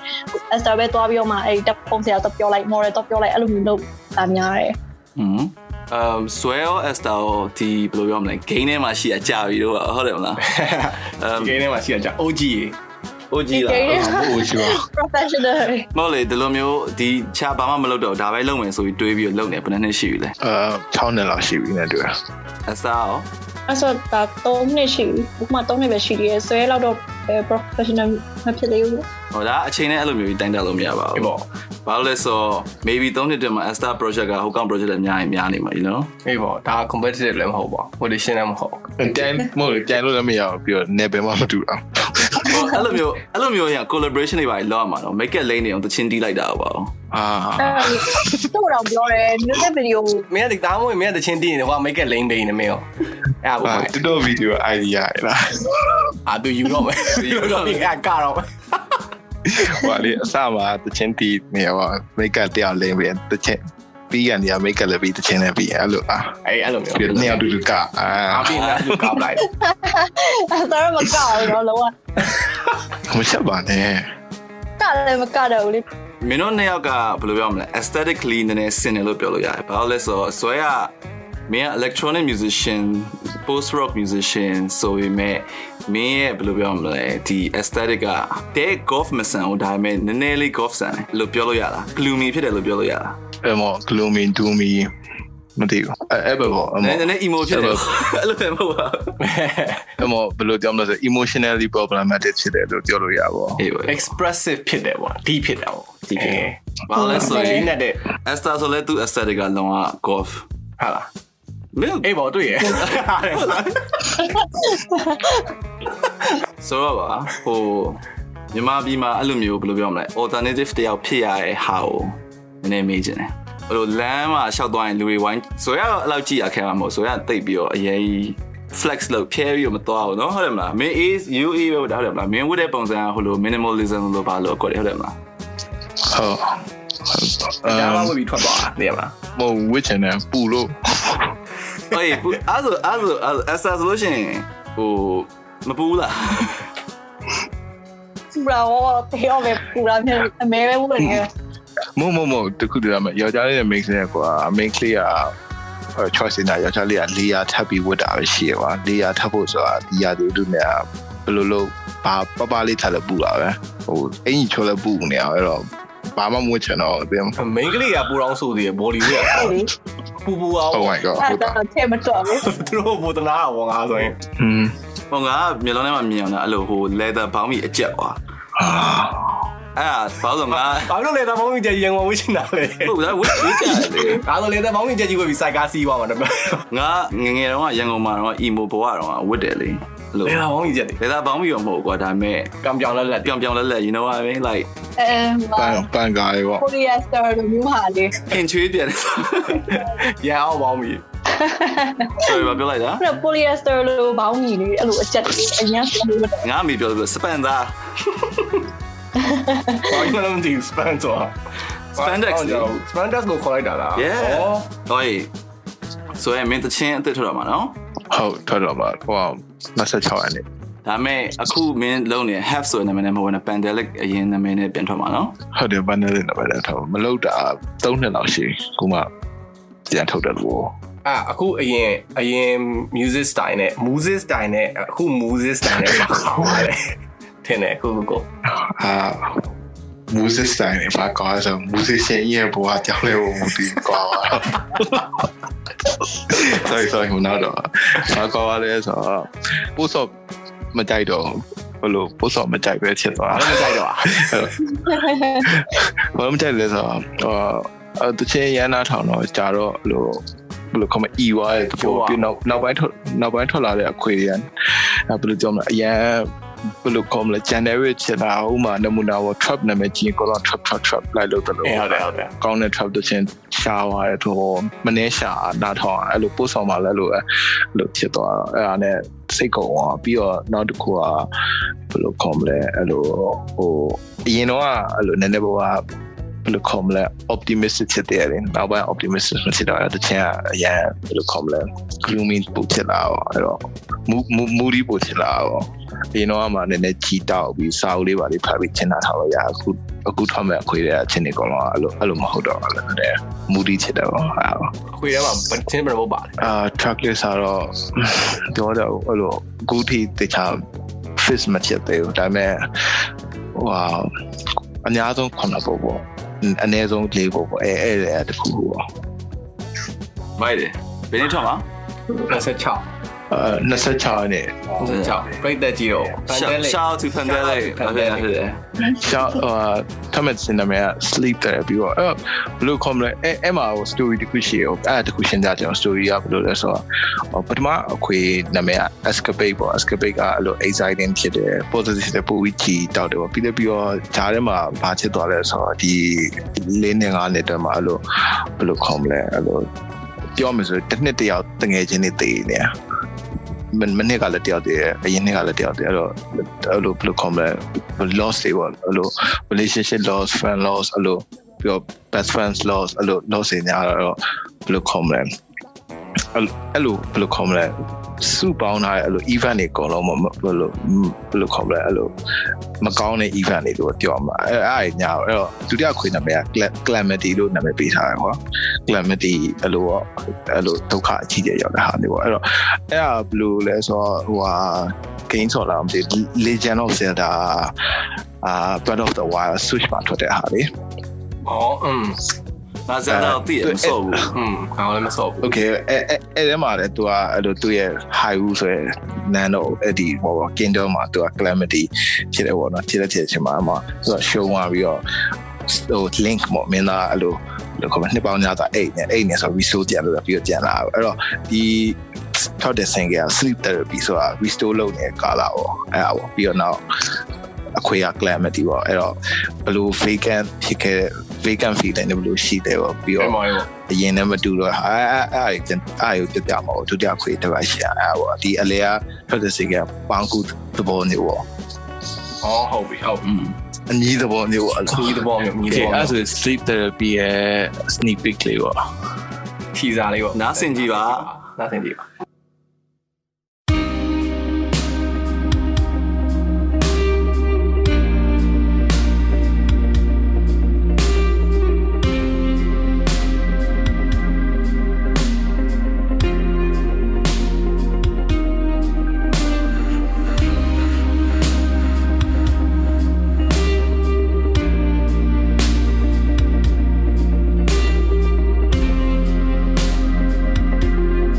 Speaker 4: Esther ပဲသွားပြီးတော့မှအဲ့ဒီတပ်ပုံစရာတော့ပြောလိုက် model တော့ပြောလိုက်အဲ့လိုမျိုးလုပ်တာများတယ်
Speaker 2: อืมเอ่อสวยออสตาโอဒီဘယ်လိုပြောမလဲဂိမ်းထဲမှာရှိအကြပြီတော့ဟုတ်တယ်မ လားအမ်
Speaker 1: ဒီကိန်းထဲမှာရှိရကြ OG ရေ
Speaker 2: OG လာ
Speaker 4: ဂိမ်းထဲမှာ
Speaker 2: ဟို OG ပါ
Speaker 4: professional
Speaker 2: မဟုတ်လေဒီလိုမျိုးဒီချာဘာမှမလုပ်တော့ဒါပဲလုပ်မယ်ဆိုပြီးတွေးပြီးတော့လုပ်နေဘယ်နှစ်နှစ်ရှိပြီလဲ
Speaker 3: အာ6နှစ်လောက်ရှိပြီနဲ့တွေ့တာ
Speaker 2: အစားရော
Speaker 4: အဲ့ဆိုဒါ3နှစ်ရှိပြီဥပမာ3နှစ်ပဲရှိသေးတယ်ဆွဲလောက်တော့ဘယ် professional မဖြစ်သေးဘူး
Speaker 2: ဟိုဒါအချိန်နဲ့အဲ့လိုမျိုးကြီးတိုင်းတက်လို့မရပါ
Speaker 1: အေး
Speaker 2: ဘူး
Speaker 1: ပေါ့
Speaker 2: ဘာလို့လဲဆိုတော့ maybe 3နှစ်တည်းမှာ Asta project ကဟိုကောင် project လည်းအများကြီးများနေမှာ you know
Speaker 1: အေးပေါ့ဒါ competitive လည်းမဟုတ်ပါဘူး audition လည်းမဟုတ်ဘူး
Speaker 3: တိုင်မဟုတ်တိုင်လို့လည်းမရဘူးပြီးတော့နေဘယ်မှမတူအောင်
Speaker 2: ဟိုအဲ့လိုမျိုးအဲ့လိုမျိုးကြီးက collaboration တွေပါကြီးလောက်ရမှာနော် make it lane တွေအောင်တချင်းတီးလိုက်တာပါဘူး
Speaker 3: အာ
Speaker 4: အဲ့တော့တော့ပြောတယ် music video
Speaker 1: မင်းကဒီသားမွေးမင်းကတချင်းတည်နေဟိုက make it lane ဘိန်းနေမင်းရောအဲ့ဒါကို
Speaker 3: အာ
Speaker 1: ပါ
Speaker 3: တူတော်ဗီဒီယို idea လား
Speaker 1: အာသူယူတော့မယ်ယူတော့ဒီကကတော့မယ်
Speaker 3: ဟိုလေအစမှာတချင်းတီးနေရောမိတ်ကပ်တယောက်လိမ့်ပြီးတချင်းပြီးကန်နေရမိတ်ကပ်လည်းပြီးတချင်းလည်းပြီးအဲ့လိုအာ
Speaker 1: အဲ့အဲ့လိုမျိုး
Speaker 3: ပြီးတော့နှစ်ယောက်တူတူကအာ
Speaker 1: အာပြီးလာလူကပ်လိုက်
Speaker 4: အဲ့တော့မကောက်တော့လောက
Speaker 3: မချက်ပါနဲ့
Speaker 4: ကလည်းမကောက်တော့ဘူးလေ
Speaker 2: မင်းတို့နှစ်ယောက်ကဘယ်လိုပြောမလဲ aesthetically နည်းနည်းစင်တယ်လို့ပြောလို့ရတယ်ဘာလို့လဲဆိုတော့ဆွဲကမင်းက electronic musician post rock musician ဆိုပေမဲ့မင်းရဲ့ဘယ်လိုပြောမလဲဒီ aesthetic ကတဲ golf မဆန်ဘူးဒါပေမဲ့နည်းနည်းလေး golf ဆန်တယ်လို့ပြောလို့ရတာ gloomy ဖြစ်တယ်လို့ပြောလို့ရတာ
Speaker 3: အမော gloomy doomy မသိဘူးအဲ့အဲ့ပဲပေါ့အ
Speaker 2: န
Speaker 3: မော
Speaker 2: ည်းနည်း emo ဖြစ်တယ် အဲ့လိုပဲမဟုတ်ပါဘူး
Speaker 3: အမောဘယ်လိုပြောမလဲဆို emotionally problematic ဖြစ်တယ်လို့ပြောလို့ရပါဘော
Speaker 2: အေးပါ
Speaker 1: expressive ဖြစ်တယ်ပေါ့ဒီဖြစ်တာပေါ့
Speaker 2: ဒီဖြစ်တယ် ဘာလို့လဲ
Speaker 1: ဆို
Speaker 2: ဆိုရ
Speaker 1: ရင် င်နဲ့တဲ့
Speaker 2: Esther ဆိုလဲသူ aesthetic ကလုံးဝ golf
Speaker 1: ဟာလား
Speaker 2: မင်း
Speaker 1: အေးပေါ့တွေ့ရဟုတ်လား
Speaker 2: ဆိုတော့ပါဟိုမြန်မာပြည်မှာအဲ့လိုမျိုးဘယ်လိုပြောမလဲ alternative တယောက်ဖြစ်ရတဲ့ဟာကိုနည်းနည်းမေးချင်တယ်အဲ့လိုလမ်းမှာရှောက်သွားရင်လူတွေဝိုင်းဆိုရတော့အဲ့လောက်ကြည့်ရခဲမှာမဟုတ်ဆိုရတိတ်ပြီးတော့အရင် flex လုပ်ဖြဲပြီးတော့မသွားဘူးเนาะဟုတ်တယ်မလားမင်း is you is ပဲဟုတ်တယ်မလားမင်းဝတ်တဲ့ပုံစံကဟိုလို minimalism လို့ပါလို့အကွက်တယ်ဟုတ်တယ်မလား
Speaker 3: ဟုတ်အဲ
Speaker 1: ဒါမှမ
Speaker 3: မ
Speaker 1: ဟုတ်ပြီးထွက်သွားတာနေရမလား
Speaker 3: ဟုတ်ဝစ်ချင်တယ်ပူလို့
Speaker 2: အေးဘူးအဲ့ဒါအဲ့ဒါအဲ့ဒါဆိုလို့ရှိရင်ဟိုမပူးလား
Speaker 4: ပူတာရောတေရောပဲပူတာမျိုးအမဲပဲဝင်
Speaker 3: မ
Speaker 4: နေ
Speaker 3: ဟုတ်မဟုတ်မဟုတ်တခုတည်းကမှယောက်ျားလေးနဲ့ mix နဲ့ကွာ main clear choice နေတာယောက်ျားလေးက၄ရာထပ်ပြီးဝတ်တာပဲရှိရပါ၄ရာထပ်ဖို့ဆိုတာဒီရာသူတို့နဲ့ဘယ်လိုလုပ်ဘာပပလေးထပ်လို့ပူတာပဲဟိုအင်ကြီးချိုလည်းပူနေအောင်အဲ့တော့ဘာမှမဝတ်ချင်တော့ဘူး
Speaker 1: မင်းကလေးကပူအောင်ဆိုသေးတယ် body weight က
Speaker 4: ဟုတ်လေ
Speaker 1: ပူပူအောင်
Speaker 3: Oh my god
Speaker 4: အဲ့
Speaker 3: ဟုတ်တာ
Speaker 4: တော့ထဲမတော်ဘူး
Speaker 1: သူတို့ဘူတနာဟောငါဆိုရင်
Speaker 3: ဟွ
Speaker 2: ဟို
Speaker 3: န်း
Speaker 2: ငါကမျိုးလုံးထဲမှာမြင်အောင်လားအဲ့လိုဟို leather ဘောင်းကြီးအကြက်ွာ
Speaker 3: အာ
Speaker 2: အဲ့ဒါဘာလို့လဲဆို
Speaker 1: ဘာလို့လဲတ
Speaker 2: တော့ငါ
Speaker 1: မောင်းကြီးကြီးရန်ကုန်ဝရှင်းတာလဲ
Speaker 2: ဟုတ်လားဝတ်ဝတ်ကြလေ
Speaker 1: ဒါဆိုလေတမောင်းကြီးကြီးကိုပြီးစိုက်ကားစီးသွားမှာတော့
Speaker 2: ငါငယ်ငယ်တုန်းကရန်ကုန်မှာတော့ emo ဘဝတုန်းကဝတ်တယ်လေအဲ့လို
Speaker 1: လေတမောင်းကြီးကြီး
Speaker 2: လေသာပေါင်းပြီးတော့မဟုတ်ဘူးကွာဒါပေမဲ့
Speaker 1: ကံပြောင်လက်လက်
Speaker 2: ပြောင်ပြောင်လက်လက် you know what i mean like
Speaker 4: အဲ
Speaker 3: ပန်ပန်ကားရေပေါ့
Speaker 4: ကိုရီးယားစတာတို့မျိုးဟာလေ
Speaker 2: အင်ချွေးပြန်တယ်
Speaker 1: ရန်အောင်ပေါင်းပြီ
Speaker 2: sorry ဘာပြောလိုက်တာ
Speaker 4: အဲ့တော့ပိုလီယက်စတာလိုဘောင်းကြီးလေအဲ့လိုအချက်တွေအများကြီးလို့
Speaker 2: ငါအမိပြောလို့စပန်သား
Speaker 1: ဘာလို့လဲမသိဘူး span တော့
Speaker 2: spandex လေ
Speaker 1: spandex ကိုခေါ်လိုက်တာလား
Speaker 2: yeah ဟိုဆိုရင်မင်းတချင်းအစ်စ်ထွက်တော့မှာနော်
Speaker 3: ဟုတ်ထွက်တော့မှာဟို26ရက်နေ့
Speaker 2: ဒါ ဒါပေမဲ့အခုမင်းလုံးနေ half ဆိုတဲ့နာမည်နဲ့မဟုတ်ဘူးနော် pandemic အရင်နာမည်နဲ့ပြန်ထွက်မှာနော်
Speaker 3: ဟုတ်တယ်ဘာနဲ့လဲဘာလဲတော့မလောက်တာ၃နှစ်လောက်ရှိခုမှပြန်ထုတ်တယ်လို့
Speaker 1: အာအခုအရင်အရင် music style နဲ့ music style နဲ့အခု music style နဲ့ပါခေါ်ပါတယ်ထင်တယ်ကိုကိုကို
Speaker 3: အာ music style နဲ့ဘာကောင်းဆို music ရှင်ရဲ့ဘဝကြောင်းလဲဘုံမူတည်ကွာပါ sorry sorry ဟိုနောက်တော့ဘာကောင်းလဲဆိုတော့ post op မကြိုက်တော့ဘလို့ post op မကြိုက်ပဲဖြစ်သွား
Speaker 1: အားမကြိုက်တော့ဘူး
Speaker 3: ဘာမှမကြိုက်လဲဆိုတော့ဟိုတချင်ရန်နာထောင်တော့ကြာတော့ဟိုဘယ်လိုခေါ်မလဲအီဝါရဲ့ပိုပြီးနောက်နောက်ပိုင်းထွက်နောက်ပိုင်းထွက်လာတဲ့အခွေရန်ဘယ်လိုကြောမလဲအရန်ဘယ်လိုခေါ်မလဲ generic ဖြစ်တာဥမာနမူနာပေါ် trap နာမည်ကြီးကိုတော့ trap trap trap လိုက်လို့တလို့
Speaker 1: အေးဟုတ်တယ်ဟုတ်တယ်
Speaker 3: ကောင်းတဲ့ trap တချင်ရှားသွားတယ်တော့မနှဲရှာနာထောင်အဲ့လိုပို့ဆောင်มาလဲလို့အဲ့လိုဖြစ်သွားတော့အဲ့ဒါနဲ့စိတ်ကုန်သွားပြီးတော့နောက်တစ်ခုကဘယ်လိုခေါ်မလဲအဲ့လိုဟိုအရင်တော့အဲ့လိုနည်းနည်းပေါ်က ဘယ်လိုခေါ်မလဲ optimistic ဖြစ်တယ်လေနောက်ပိုင်း optimistic ဖြစ်တော့တချင်အရန်ဘယ်လိုခေါ်မလဲ gloomy ပို့ဖြစ်လာတော့အဲ့တော့ mood mood- moody ပို့ဖြစ်လာတော့ဒီတော့အမှနည်းနည်းကြီးတောက်ပြီးစာအုပ်လေးပါလေးဖတ်ပြီးချင်းတာထားလို့ရအခုအခုထွက်မဲ့အခွေတဲ့အချင်းတွေကတော့အဲ့လိုအဲ့လိုမဟုတ်တော့ဘူးလေ moody ဖြစ်တယ်ပေါ့အဲ့တော့
Speaker 1: အခွေထဲမှာဘတ်ချင်းဘယ်ဘုတ်ပါတယ်
Speaker 3: အာ chocolate ဆိုတော့ပြောတော့အဲ့လို good tea တခြား fish မဖြစ်သေးဘူးဒါပေမဲ့ဟိုဟာအများဆုံးခုနစ်ပုတ်ပေါ့အနည်းဆုံးလေးပုတ်ပေါ့အဲအဲ့လေတစ်ခုခုပေါ့
Speaker 2: မိုက်တယ်ဘယ်နေ့ထွက်မှာ
Speaker 1: 26
Speaker 3: အာ26နဲ့
Speaker 1: 26ပြိတ္တကြီးတော့ pandemic
Speaker 2: shout out to pandemic ဟုတ်တယ်ဟုတ်တယ်
Speaker 3: ရှောက်ဟိုဟာထမက်စင်နာမည်က sleep therapy ပေါ့အဲ့ဘယ်လိုခေါ်မလဲအဲ့အဲ့မှာဟို story တစ်ခုရှိရောအဲ့တစ်ခုရှင်းပြကြအောင် story ကဘယ်လိုလဲဆိုတော့ဟိုပထမအခွေနာမည်က escape ပေါ့ escape ကအဲ့လို anxiety ဖြစ်တယ် positive တဲ့ပုံကြီးကြီးတောက်တယ်ပေါ့ပြီးတော့ပြီးတော့ဂျားထဲမှာဘာဖြစ်သွားလဲဆိုတော့ဒီ၄နှစ်၅နှစ်တည်းမှာအဲ့လိုဘယ်လိုခေါ်မလဲအဲ့လိုပြောမယ်ဆိုရင်တစ်နှစ်တယောက်တငယ်ချင်းတွေတည်နေတာမမနေ့ကလည်းတယောက်တည်းအရင်နေ့ကလည်းတယောက်တည်းအဲ့တော့အဲ့လိုဘယ်လိုခေါ်မလဲ loss တွေပေါ့အဲ့လို relationship loss friend loss အဲ့လိုပြီးတော့ best friends loss အဲ့လို loss တွေညာတော့ဘယ်လိုခေါ်မလဲအဲ့လိုအဲ့လိုဘယ်လိုခေါ်မလဲစုပေါင်းထားတဲ့အဲ့လို event တွေအကုန်လုံးမမဘယ်လိုဘယ်လိုခေါ်မလဲအဲ့လိုမကောင်းတဲ့ event တွေလို့ပြောမှာအဲ့အဲ့ဒါညာအဲ့တော့ဒုတိယခွေနာမည်က cla- calamity လို့နာမည်ပေးထားတယ်ကွာ calamity အဲ့လိုပေါ့အဲ့လိုဒုက္ခအကြီးကြီးရောက်တဲ့ဟာမျိုးပေါ့အဲ့တော့အဲ့ဒါဘယ်လိုလဲဆိုတော့ဟိုဟာ game ဆိုတာမသိဘူး Legend of Zelda အာ Breath of the Wild Switch မှာထွက်တဲ့ဟာလေ
Speaker 1: ဩအင်း
Speaker 2: ငါဇာတ်တော့တည်ရမစော့ဘူး
Speaker 1: อืมကောင်းလည်းမစော့ဘူး
Speaker 3: Okay အဲ့အဲ့အဲ့ထဲမှာလည်း तू อ่ะအဲ့လိုသူ့ရဲ့ high rule ဆိုရယ် nano အဲ့ဒီဟိုပေါ့ kingdom မှာ तू อ่ะ calamity ဖြစ်တယ်ပေါ့နော်ဖြစ်တဲ့ဖြစ်ချင်းမှာအမသူကရှုံးသွားပြီးတော့ဟို link ပေါ့မင်းသားအဲ့လိုလောကမနှစ်ပေါင်းများစွာအိတ်နဲ့အိတ်နဲ့ဆို restore ပြန်လို့ပြီးတော့ပြန်လာအဲ့တော့ဒီထောက်တဲ့ single sleep therapy ဆိုတာ restore လုပ်နေတဲ့ကာလာပေါ့အဲ့ဒါပေါ့ပြီးတော့နောက်အခွေရ calamity ပေါ့အဲ့တော့ဘယ်လို vacant ဖြစ်ခဲ့ vacant feeling တွေဘယ်လိုရှိတယ်ပေါ့ပြီး
Speaker 1: ပြ
Speaker 3: တော့
Speaker 1: န်မော်ရေပေါ့
Speaker 3: အရင်နဲ့မတူတော့ဟာအဲ့အဲ့အဲ့အဲ့ကျွန်အဲ့ရုပ်ပြပြမဟုတ်ဒုတိယခွေတစ်ပါးရှိရအဲ့ပေါ့ဒီအလေကဖက်ဒစီကပေါင်းကူသဘောမျိုးပေါ့
Speaker 1: ဩဟုတ်ပြီဟုတ်ပြီ
Speaker 3: အညီသဘောမျိုးပေါ့အဲ့
Speaker 1: ဒီသဘောမျိုးဒီသဘောမျိုး
Speaker 3: sleep therapy ရဲ့ sneak peek လေးပေါ့
Speaker 1: ခြီစာလေးပေါ့
Speaker 2: နားဆင်ကြည့်ပါ
Speaker 1: နားဆင်ကြည့်ပါအဲစစ်
Speaker 2: မိုက်တယ်
Speaker 3: ဒါပေါ့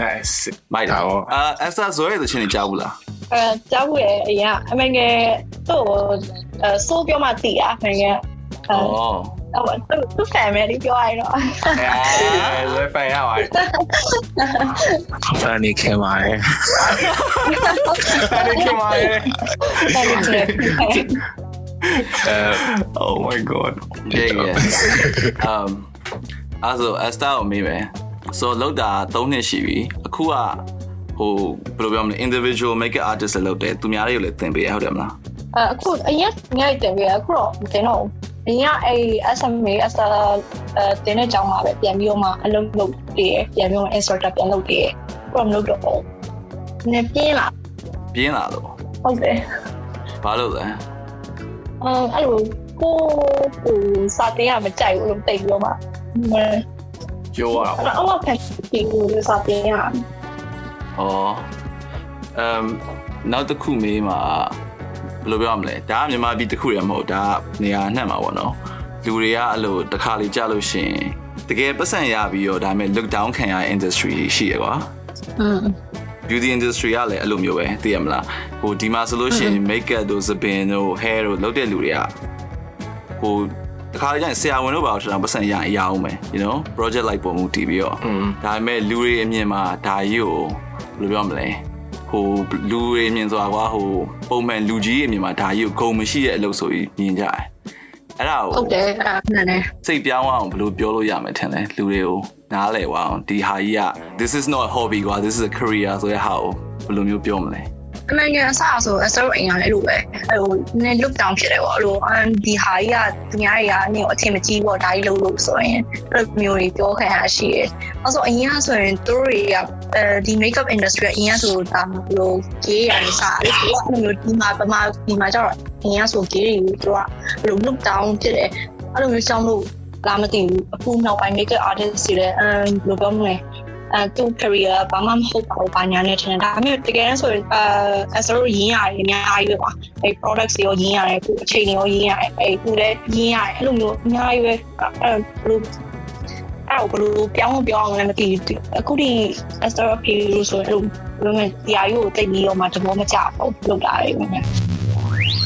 Speaker 2: အာ after ဇွဲရတဲ့ချင်းကြီးကြားဘူးလား
Speaker 4: အဲကြောက်ရဲ့အရင်အမေငယ်သူ့ကိုအဲစိုးပြောမှတည်တာအမေငယ်အဲ
Speaker 2: อ๋อ
Speaker 4: ဟိုသူ့သူ့ဖန်မယ်ဒီပြောရရင်တော့
Speaker 1: အဲလွယ်ဖန်ရပါတယ်
Speaker 3: ဖန်နေခင်ပါတယ်
Speaker 1: ဖန်နေခင်ပါရဲ့
Speaker 4: ဖန်တယ်
Speaker 3: အဲ
Speaker 1: Oh my god
Speaker 2: เก่งๆอืมအဲ့ဆိုအစတာကိုမေးမယ်ဆိုတော့လောက်တာ3နှစ်ရှိပြီအခုကဟိုဘယ်လိုပြောမလဲ individual makeup artist လည်းလုပ်တယ်သူများတွေကိုလည်းသင်ပေးရဟုတ်တယ်မလား
Speaker 4: အဲအခုအရင်ညိုက်တယ်ပဲအခုတော့မတင်တော့ဘူးအရင်ကအဲ SMA SR အဲတင်တဲ့ကြောင်းမှာပဲပြန်ပြီးတော့မှအလုပ်လုပ်တည်ပြန်ပြီးတော့ instructor ပြန်လုပ်တည်အခုတော့မလုပ်တော့ဘူးနည်းပြင်းလာ
Speaker 2: ပြင်းလာတော့
Speaker 4: ဟုတ်တယ်
Speaker 2: ဘာလို့လဲ
Speaker 4: အဲအဲ့လိုကိုကိုစာတင်ရမကြိုက်ဘူးလို့တိတ်ပြီးတော့မှ
Speaker 1: ကျိုးရအောင်
Speaker 4: အဲ့တော့ဖက်တီကိုစာတင်ရ
Speaker 2: ဩအမ်နောက်တစ်ခုမေးမှာဘယ်လိုပြောမလဲဒါကမြန်မာပြည်တစ်ခုရမဟုတ်ဒါကနေရာအနှံ့မှာပေါ့နော်လူတွေကအလိုတစ်ခါလေကြားလို့ရှရင်တကယ်ပတ်စံရပြီးတော့ဒါပေမဲ့ look down ခံရတဲ့ industry တွေရှိရကွာ
Speaker 4: อืม
Speaker 2: beauty industry ကလည်းအဲ့လိုမျိုးပဲသိရမလားဟိုဒီမှာဆိုလို့ရှိရင် makeup တို့စပင်တို့ hair တို့လုပ်တဲ့လူတွေကဟိုတခါလေကျရင်ဆရာဝန်တို့ဘာလို့ထတာပတ်စံရရင်အရအောင်ပဲ you know project like ပုံမူတည်ပြီးတော့
Speaker 1: อืม
Speaker 2: ဒါပေမဲ့လူတွေအမြင်မှာဒါကြီးကိုဘယ်လိုပြောမလဲဟိုလူတွေအမြင်ဆိုတာကွာဟိုပုံမှန်လူကြီးအမြင်မှာဒါကြီးကိုဂုံမရှိတဲ့အလုပ်ဆိုပြီးမြင်ကြတယ်အဲ့ဒါ
Speaker 4: ဟု
Speaker 2: ကို
Speaker 4: တ်တယ်အဲ့ဒါမှန်တယ်
Speaker 2: စိတ်ပြောင်းအောင်ဘယ်လိုပြောလို့ရမလဲထင်လဲလူတွေကိုနားလည်သွားအောင်ဒီဟာကြီးက this is not a hobby ကွာ this is a career ဆိုတဲ့ဟာကိုဘယ်လိုမျိုးပြောမလဲ
Speaker 4: အမေငယ်အစအဆို SR အိမ်ကလည်းအဲ့လိုပဲအဲ့လိုနည်း look down ဖြစ်တယ်ပေါ့အဲ့လိုအမ်ဒီဟာကြီးကသူများတွေကအနည်းကိုအထင်မကြီးပေါ့ဒါကြီးလုံးလို့ဆိုရင်အဲ့လိုမျိုးတွေပြောခံရရှိတယ်။အဲဆိုအရင်ကဆိုရင်သူတို့တွေကအဲဒီ makeup industry ကအရင်ကဆိုဒါမျိုးကြီးရတယ်စားတယ်သူကအဲ့လိုမျိုးဒီမှာပမာဒီမှာကျတော့အရင်ကဆိုကြီးတွေကိုသူကအဲ့လို look down ဖြစ်တယ်အဲ့လိုမျိုးကြောင့်လို့လာမသိဘူးအခုနောက်ပိုင်း makeup artist တွေလည်းအမ်ဘယ်လိုပြောမလဲ အဲသူ career ဘာမှမဟုတ်ပါဘူးဘာညာနဲ့ထင်တယ်ဒါပေမဲ့တကယ်ဆိုရင်အဲအစရိုးရင်းရတယ်အများကြီးပဲကွာအဲ products တွေရောရင်းရတယ်သူအချိန်တွေရောရင်းရတယ်အဲသူလည်းရင်းရတယ်အဲ့လိုမျိုးအများကြီးပဲအဲဘယ်လိုအဲ့ဘယ်လိုပြောင်းပြောင်းလဲမသိဘူးအခုဒီ Astro Appeal လို့ဆိုရင်အဲ့လိုမျိုးဒီအရိုးကိုတိတ်ပြီးတော့မှသဘောမကျဘူးလောက်တာတွေပဲ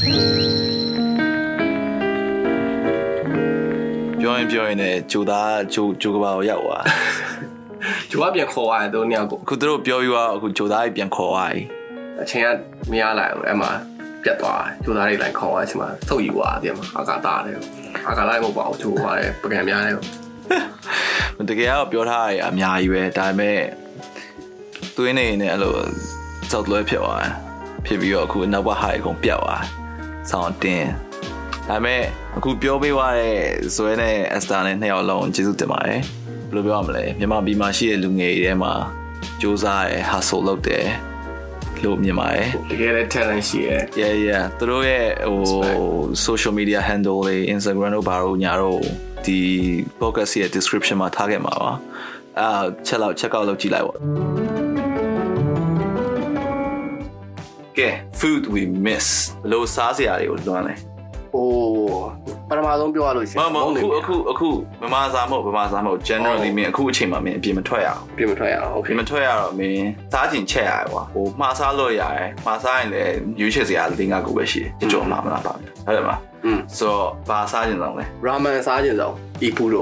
Speaker 2: ပြောရင်ပြောရင်လည်းဂျိုသားဂျိုဂျိုကဘာကိုရောက်သွား
Speaker 1: ကျိုးကပြန်ခေါ်ရတယ်သူတို့နှစ်ယောက်ကို
Speaker 2: အခုသူတို့ပြောပြီးတော့အခုဂျိုသားကြီးပြန်ခေါ်သွားပြီ
Speaker 1: အချိန်ကမရလိုက်ဘူးအဲ့မှာပြတ်သွားတယ်ကျိုးသားတွေလိုက်ခေါ်ရအချိန်မှာသုတ်ယူသွားတယ်မှာအာကာတာတယ်အာကာလိုက်မဟုတ်ပါဘူးကျိုးသွားတယ်ပကံများတယ်
Speaker 2: တကယ်ကတော့ပြောထားရအများကြီးပဲဒါပေမဲ့သွေးနေနေအဲ့လိုစောက်လွဲဖြစ်သွားတယ်ဖြစ်ပြီးတော့အခုနောက်ဘက်ဟာအကုန်ပြတ်သွားတယ်ဆောင်းတင်းဒါပေမဲ့အခုပြောပေးသွားတဲ့ဇွဲနဲ့အက်စတာနဲ့နှစ်ယောက်လုံးကျေးဇူးတင်ပါတယ်ဘယ်လိုပြောရမလဲမြန်မာပြည်မှာရှိတဲ့လူငယ်တွေထဲမှာစူးစမ်းရဲဟာဆိုလုပ်တယ်လို့မြင်ပါတယ်
Speaker 1: တကယ်လည်း talent ရှိတယ်
Speaker 2: yeah yeah သူတို့ရဲ့ဟို social media handle တွေ Instagram တို့ဘာတို့ညာတို့ဒီ podcast ရဲ့ description မှာထားခဲ့မှာပါအာချက်လောက် check out လုပ်ကြည့်လိုက်ပါကဲ food we miss ဘယ်လို့စားစရာတွေကိုလွန်လဲ
Speaker 1: โอ้ပထမဆုံးပြောရလို့ရှိ
Speaker 2: မ
Speaker 1: ရင်
Speaker 2: မအခုအခုအခုမမစားမဟုတ်မမစားမဟုတ် generally မင်းအခုအချိန်မှာမင်းအပြင်မထွက်ရအောင်
Speaker 1: ပြင်မထွက်ရအောင်โอเค
Speaker 2: ဒီမထွက်ရတော့မင်းစားချင်ချက်ရတယ်ကွာဟိုမှားစားလို့ရတယ်မှားစားရင်လည်းရွေးချယ်စရာ၄၅ခုပဲရှိတယ်ကြကြောမှာမလားပါဟုတ်တယ်မလား
Speaker 1: อืม
Speaker 2: ဆိုတော့ဘာစားချင်တော့လဲ
Speaker 1: ราเมนစားခြင်းဆုံးอีปูโร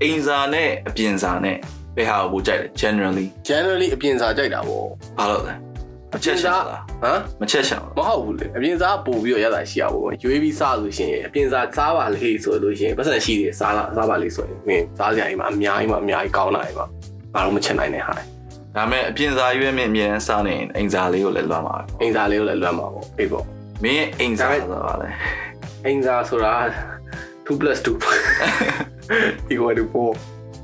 Speaker 2: အိမ်စာနဲ့အပြင်စာနဲ့ဘယ်ဟာကိုပိုကြိုက်လဲ generally
Speaker 1: generally အပြင်စားကြိုက်တာပေါ့
Speaker 2: ဘာလို့လဲမချက်ချင်လား
Speaker 1: ဟမ်
Speaker 2: မချက်ချင်လား
Speaker 1: မဟုတ်ဘူးလေအပြင်စားပို့ပြီးတော့ရတာရှိရပါဘောရွေးပြီးစားလို့ရှိရင်အပြင်စားစားပါလေဆိုလို့ရှိရင်ပတ်စံရှိတယ်စားလားစားပါလေဆိုရင်ဝင်စားစရာအိမ်မှာအများကြီးမှအများကြီးကောင်းလာအိမ်မှာဘာလို့မချင်နိုင်နဲ့ဟာ
Speaker 2: ဒါပေမဲ့အပြင်စာရွေးမင်းအမြဲတမ်းစားနေရင်အိမ်စာလေးကိုလည်းလွှမ်းပါပဲ
Speaker 1: အိမ်စားလေးကိုလည်းလွမ်းပါပေါ့အေးပေါ့
Speaker 2: မင်းရဲ့အိမ်စာဆိုတာပါ လဲ
Speaker 1: အိမ်စားဆိုတာ2 equal to 4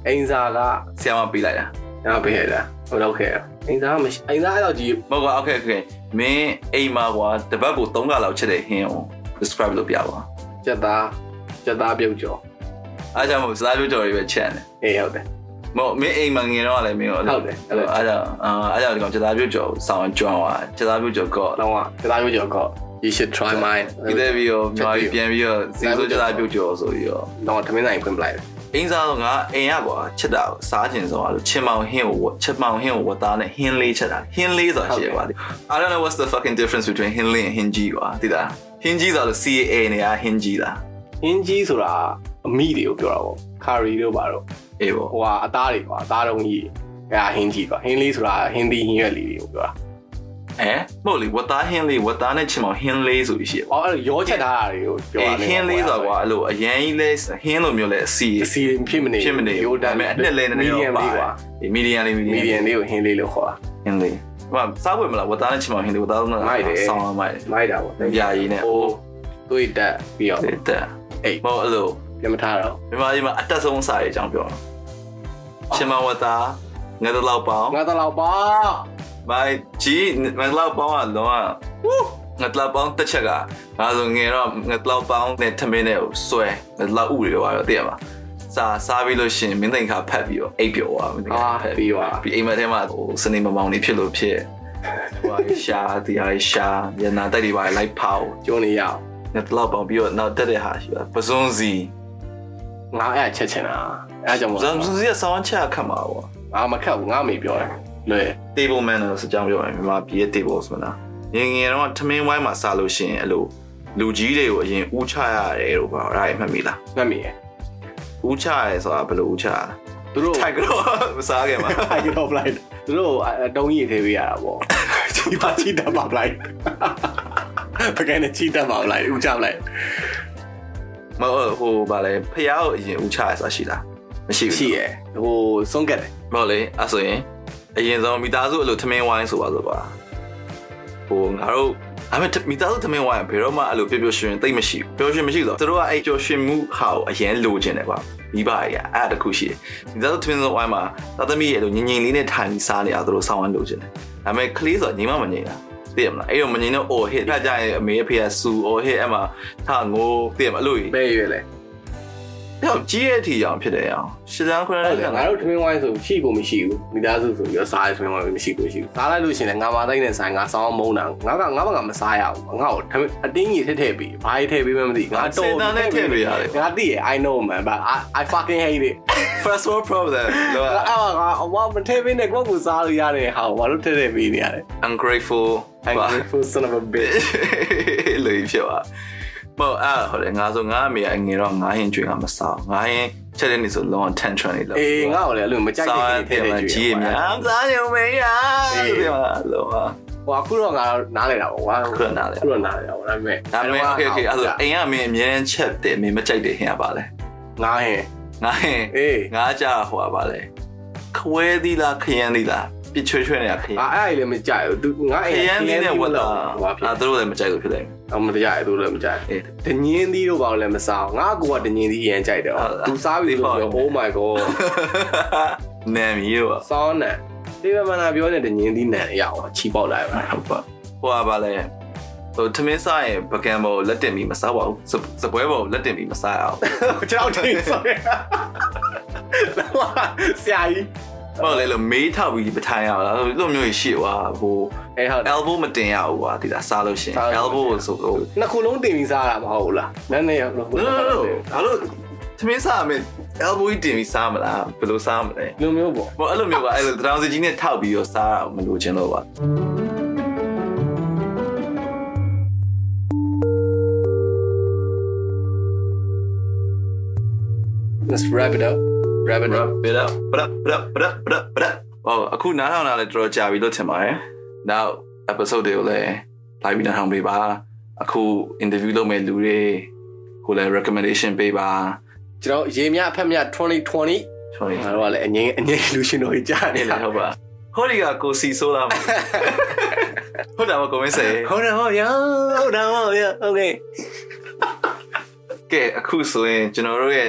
Speaker 1: အိမ်စားက
Speaker 2: ဆရာမပေးလိုက်တာ
Speaker 1: နားပေးရတာဟုတ်တော့ခဲ့အိမ်စားမရှိအိမ်စားအဲ့တော့ကြီး
Speaker 2: မဟုတ်ကွာ okay okay မင်းအိမ်မှာကွာတစ်ပတ်ကို၃ကလောက်ချက်တဲ့ဟင်းကို describe လုပ်ပြပါ
Speaker 1: ကြက်သားကြက်သားပြုတ်ကြော်
Speaker 2: အားကြောင့်မို့စားပြတော်တွေပဲချက်တယ်
Speaker 1: အေးဟုတ်တယ်
Speaker 2: မဟုတ်မင်းအိမ်မှာငင်တော့လည်းမင်းကို
Speaker 1: ဟုတ်တယ်ဟုတ်တယ်
Speaker 2: အဲ့ဒါအာအဲ့ဒါဒီကောင်ချက်သားပြုတ်ကျော်ဆောင်းကျွမ်းသွားချက်သားပြုတ်ကျော်ကော့
Speaker 1: လောင်းကကြက်သားပြုတ်ကြော်ကော you should try mine
Speaker 2: ဒီတဲ့ပြီးတော့မြန်မာပြည်ပြန်ပြီးတော့စီစိုးချက်သားပြုတ်ကျော်ဆိုပြီးတော့
Speaker 1: တော့သမင်းဆိုင်ဖွင့်ပလိုက်တယ်
Speaker 2: အင်းစားတော့ငါအိမ်ရကွာချက်တာကိုစားကျင်ဆုံးအဲ့လိုချင်မောင်ဟင်းကိုဝချက်မောင်ဟင်းကိုဝတ်သားနဲ့ဟင်းလေးချက်တာဟင်းလေးဆိုတာရှိရပါသေး I don't know what's the fucking difference between ဟင်းလေး and ဟင်းကြီးကွာသိလားဟင်းကြီးဆိုတော့ CA နေရဟင်းကြီးလား
Speaker 1: ဟင်းကြီးဆိုတာအမိတွေကိုပြောတာပေါ့ကာရီတို့ပါတော့
Speaker 2: အေးပေါ့
Speaker 1: ဟိုဟာအသားတွေကွာအသားတုံးကြီးအဲဒါဟင်းကြီးပါဟင်းလေးဆိုတာဟင်းသီးဟင်းရွက်လေးတွေကိုပြောတာ
Speaker 2: အဲမဟုတ်လေဝတ်သားဟင်းလေးဝတ်သားနဲ့ချင်မောင်ဟင်းလေးဆိုပြီးရှိရပါ
Speaker 1: အော်အဲ့လိုရောချက်ထားတာတွေကိုပြော
Speaker 2: အေး
Speaker 1: တာ
Speaker 2: ဟင်းလေးဆိုတာကွာအဲ့လိုအရင်ကြီးလဲဟင်းလိုမျိုးလဲ CA
Speaker 1: အစီဖြစ်မနေ
Speaker 2: ဖြစ်မနေ
Speaker 1: ရိုးတမ်း
Speaker 2: ဒါပေမဲ့အနှစ်လဲနည်းနည်းတော့ပါ
Speaker 1: လေး
Speaker 2: ကွာ
Speaker 1: ကွာ
Speaker 2: medium လေး medium
Speaker 1: မီဒီယံ
Speaker 2: လေး
Speaker 1: လေးကိုဟင်းလေးလို့ခေါ်တာ
Speaker 2: ဟင်းလေးဟိုမှာစားပွဲမလားဝတ်သားနဲ့ချင်မောင်ဟင်းလေးဝတ်သားသုံး
Speaker 1: မိုက်တယ်
Speaker 2: ဆောင်းလာမိုက်တယ်
Speaker 1: မိုက်တာပေါ့
Speaker 2: ယာယီနဲ့
Speaker 1: ဟိုသွေးတက်ပြီးတော့
Speaker 2: တဲ့တဲ့
Speaker 1: အိတ်
Speaker 2: မဟုတ်အဲ့လို
Speaker 1: ပြန်မထားတော့
Speaker 2: မြန်မာပြည်မှာအတက်ဆုံးအစာရေးအကြောင်းပြောတာချင်မောင်ဝတ်သားငါတို့လောက်ပေါင်း
Speaker 1: ငါတော့လောက်ပါ
Speaker 2: မိုက်ကြီးငါတို့လောက်ပေါင်းကတော့ဝငါတို့လောက်ပေါင်းတစ်ချက်ကငါဆိုငယ်တော့ငါတို့လောက်ပေါင်းနဲ့ထမင်းနဲ့ကိုဆွဲငါတို့လောက်ဥတွေပါတော့သိရမလားစားစားပြီးလို့ရှရင်မင်းသိန်ခါဖတ်ပြီးတော့အိပ်ပျော်သွားမင်းသိန်
Speaker 1: အာ
Speaker 2: ခါဖတ်ပြီး
Speaker 1: ပြီးပါ
Speaker 2: ပြီးအိမ်မက်ထဲမှာဟိုစနေမမောင်နေဖြစ်လို့ဖြစ်ဟိုဟာရှာတရားရှာညနာတိုက်တွေပါလိုက်ဖောက်
Speaker 1: ကျုံနေရအောင်
Speaker 2: နဲ့တော့ပေါင်ပြီးတော့နောက်တက်တဲ့ဟာရှိပါပစွန်စီ
Speaker 1: ငါအဲ့ဒါချက်ချင်တာအဲ့ဒါကြောင့်
Speaker 2: ပ
Speaker 1: မို့
Speaker 2: စွန်စီကဆောင်းချက်ခတ်မှာပေါ့
Speaker 1: ငါမခက်ဘူးငါမေပြောတယ်လွယ်
Speaker 2: table manners အကြောင်းပြောရင်မြန်မာပြည်ရဲ့ table ဆိုတာငယ်ငယ်တော့ထမင်းဝိုင်းမှာစားလို့ရှိရင်အဲ့လိုလူကြီးတွေကိုအရင်ဦးချရတယ်လို့ပြောတာအဲ့ဒါမှတ်မိလား
Speaker 1: ငတ်မိရယ်
Speaker 2: ဦးချရတယ်ဆိုတာဘယ်လိုဦးချရလဲ
Speaker 1: သူတို့
Speaker 2: ထိုက်ကတော့ မစား ခင်မှာ
Speaker 1: ထိုင်တော့ပလိုက်သူတို့အတုံးကြီးထည့်ပေးရတာပေါ့ ဒီပါချီတက်ပါပ လိုက်ပကနေချီတက်ပါပလိုက်ဥချပလိုက်
Speaker 2: မဟုတ်ဟိုဗာလဲဖះကိုအရင်ဦးချရဆိုတာရှိလားမရှိဘူး
Speaker 1: ရှိရယ်ဟိုဆုံးကတ်တယ်
Speaker 2: မဟုတ်လေအဲ့ဆိုရင်အရင်ဆုံးမိသားစုအလိုထမင်းဝိုင်းဆိုပါဆိုပါဟိုငါတို့အမေမိသားစုထမင်းဝိုင်းဘယ်တော့မှအဲ့လိုပျော်ပျော်ရွှင်ရွှင်တိတ်မရှိဘူးပျော်ရွှင်မရှိဘူးဆိုတော့သူတို့ကအဲ့ပျော်ရွှင်မှုဟာကိုအရင်လိုချင်တယ်ကွာမိဘတွေကအဲ့ဒါတစ်ခုရှိတယ်မိသားစုထမင်းဝိုင်းမှာသာသမီရဲ့အလိုငင်ငင်လေးနဲ့ထိုင်ပြီးစားနေတာသူတို့ဆောင်းဝမ်းလိုချင်တယ်ဒါပေမဲ့ကလေးဆိုတော့ညီမမငင်တာသိရမလားအဲ့တော့မငင်တော့ all hit ဖက်ကြရင်အမေအဖေကစူ all hit အဲ့မှာထာငိုးသိရမလားအဲ့လိုကြီး
Speaker 1: ပဲရွယ်လေ
Speaker 2: အဲ့တော့ကြီးရဲ့အထီအောင်ဖြစ်တယ်အောင်ရှစ်တန်းခွဲ
Speaker 1: ဟု
Speaker 2: တ
Speaker 1: တ်တယ်
Speaker 2: န်း
Speaker 1: ငါတို့ထမင်းဝိုင်းဆိုရှိကိုမရှိဘူးမိသားစုဆိုပြီးတော့စားရထမင်းဝိုင်းမရှိကိုရှိဘူးစားလိုက်လို့ရှရင်လည်းငါမတိုင်းတဲ့ဆိုင်ငါဆောင်းမုံတာငါကငါဘာကမစားရဘူးငါ့ကိုထမင်းအတင်းကြီးထည့်ထည့်ပြီးဘာကြီးထည့်ပေးမှမသိဘူးငါ
Speaker 2: စင်
Speaker 1: တော့
Speaker 2: တန်းနဲ့ထည့်ပေးရတယ်
Speaker 1: ငါသိရယ် I know man but I I fucking hate it
Speaker 2: first world problem လောက
Speaker 1: အဲ့ဒါကအဝမထည့်ပေးနဲ့ကိုယ့်ကိုစားလို့ရတယ်ဟာဘာလို့ထည့်ထည့်ပေးနေရလဲ
Speaker 2: ungrateful
Speaker 1: I'm grateful son of a bitch
Speaker 2: လို့ပြောอ่ะမောအာဟိုလေငါဆိုငါအမေကအငယ်တော့ငါဟင်ကျွေးကမစားငါဟင်ချက်တဲ့နေဆိုလုံးဝ tantrum နေလောက်
Speaker 1: အေးငါ့ကိုလည်းအဲ့လိုမကြိုက်
Speaker 2: စား
Speaker 1: တဲ့
Speaker 2: တဲ့
Speaker 1: ကိ
Speaker 2: မှာ
Speaker 1: စ္စ
Speaker 2: ကြီး
Speaker 1: တွေ
Speaker 2: ရ
Speaker 1: ထည့်ထည့်ကြည့်ရ
Speaker 2: မြ
Speaker 1: ပါ
Speaker 2: ားစားရုံမေးရလို့ပြောလုံးဝ
Speaker 1: ဟိုအခုတော့ငါတော့နားလဲတာပေါ့ကွာ
Speaker 2: ခ
Speaker 1: အခု
Speaker 2: ဏနားလေ
Speaker 1: တော့နားလဲတာပေါ့ဒါပေမဲ့
Speaker 2: ဒါပေမဲ့ okay okay အဲ့ဆိုအိမ်ကအမေအမြဲတမ်းချက်တယ်အမေမကြိုက်တယ်ဟင်ရပါလဲ
Speaker 1: ငါဟင်
Speaker 2: ငါဟင်
Speaker 1: အေး
Speaker 2: ငါကြဟိုပါလဲခွဲသီးလားခရမ်းသီးလားပြချွဲချွဲနေတာခရ
Speaker 1: ငါ
Speaker 2: မ်း
Speaker 1: အဲ့အရင်မကြိုက်ဘူးသူငါ
Speaker 2: ခ
Speaker 1: အိမ်
Speaker 2: ရမ်းသီးနဲ့ဝတ်တာ
Speaker 1: ဟိုပါဖြစ်
Speaker 2: အာသူတို့လည်းမကြိုက်လို့ဖြစ်တယ်
Speaker 1: အမတရားဘူးလည်းမကြိုက်
Speaker 2: အေး
Speaker 1: ဒညင်းသီးတို့ဘာလို့လဲမစားဘူးငါအကူကဒညင်းသီးရန်ကြိုက်တယ်
Speaker 2: ဟုတ်လား
Speaker 1: သူစားပြီလို့
Speaker 2: ဒီပေါ့
Speaker 1: ပြော Oh my god
Speaker 2: နာမည်ရော
Speaker 1: စောင်းနံဒီမမနာပြောတဲ့ဒညင်းသီးနံရအောင်ချီပေါက်လိုက်ပါ
Speaker 2: ဟုတ်ပါဟိုကပါလဲဟိုထမင်းစားရင်ပကံပေါ်ကိုလက်တင်ပြီးမစားပါဘူးစစပွဲပေါ်ကိုလက်တင်ပြီးမစားရအောင်
Speaker 1: ကျွန်တော် တင်ဆိုရဆရာကြီး
Speaker 2: ဟုတ်လေလို့မေးထောက်ပြီးပထိုင်ရအောင်လားအဲ့လိုမျိုးကြီးရှေ့ွာဟို
Speaker 1: အဲ့ဟုတ်တယ်
Speaker 2: elbow မတင်ရဘူးကွာဒီလားစားလို့ရှရင်
Speaker 1: စားလို့
Speaker 2: elbow ကိုဆိုဟို
Speaker 1: နှစ်ခုလုံးတင်ပြီးစားတာမဟုတ်ဘူးလားနည်းနည်းရောလို့
Speaker 2: no no no ဘာလို့ထမင်းစားရမယ် elbow ကြီးတင်ပြီးစားမလားဘယ်လိုစားမလဲ
Speaker 1: လူမျိုးပေါ့
Speaker 2: ဘာအဲ့လိုမျိုးကအဲ့လိုတရောင်စီကြီးနဲ့ထောက်ပြီးတော့စားတာမလို့ချင်တော့ပါ
Speaker 1: ။ Let's wrap it up. Wrap it up.
Speaker 2: ဘယ်တော့ဘယ်တော့ဘယ်တော့ဘယ်တော့ဘယ်တော့ဟိုအခုနားထောင်တာလည်းတော်တော်ကြာပြီလို့ထင်ပါတယ် now episode တွေကိုလည်း live ပြီးနားထောင်ပေးပါအခု interview လုပ်မဲ့လူတွေကိုလည်း recommendation ပေးပါ
Speaker 1: ကျွန်တော်ရေမြအဖက်မြ2020
Speaker 2: ကျွန်တော်
Speaker 1: ငါတို့ကလည်းအငင်းအငင်းလူရှင်တို့ကြီးကြား
Speaker 2: နေ
Speaker 1: နေ
Speaker 2: လေ
Speaker 1: လား
Speaker 2: ဟုတ်ပါခေါရီကကိုစီဆိုးလာမှာဟုတ်တယ်မကိုမင်းစေ
Speaker 1: ။ဟုတ်တယ်ဟုတ်ရဟုတ်တယ်ဟုတ်ရ Okay
Speaker 2: ကဲအခုဆိုရင်ကျွန်တော်တို့ရဲ့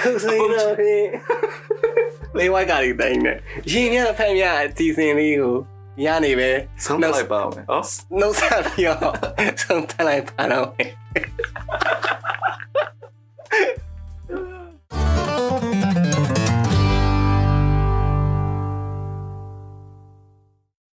Speaker 1: ခုစိတော့ဟေးလေးဝိုက်ကလေးတိုင်းနဲ့ရေမြအဖက်မြအတီစင်လေးကိုညနေပဲ
Speaker 2: ဆုံးလိုက်ပါမယ်ဟုတ်
Speaker 1: နှုတ်ဆက်ပြီးတော့ဆုံးထက်လိုက်ပါတော့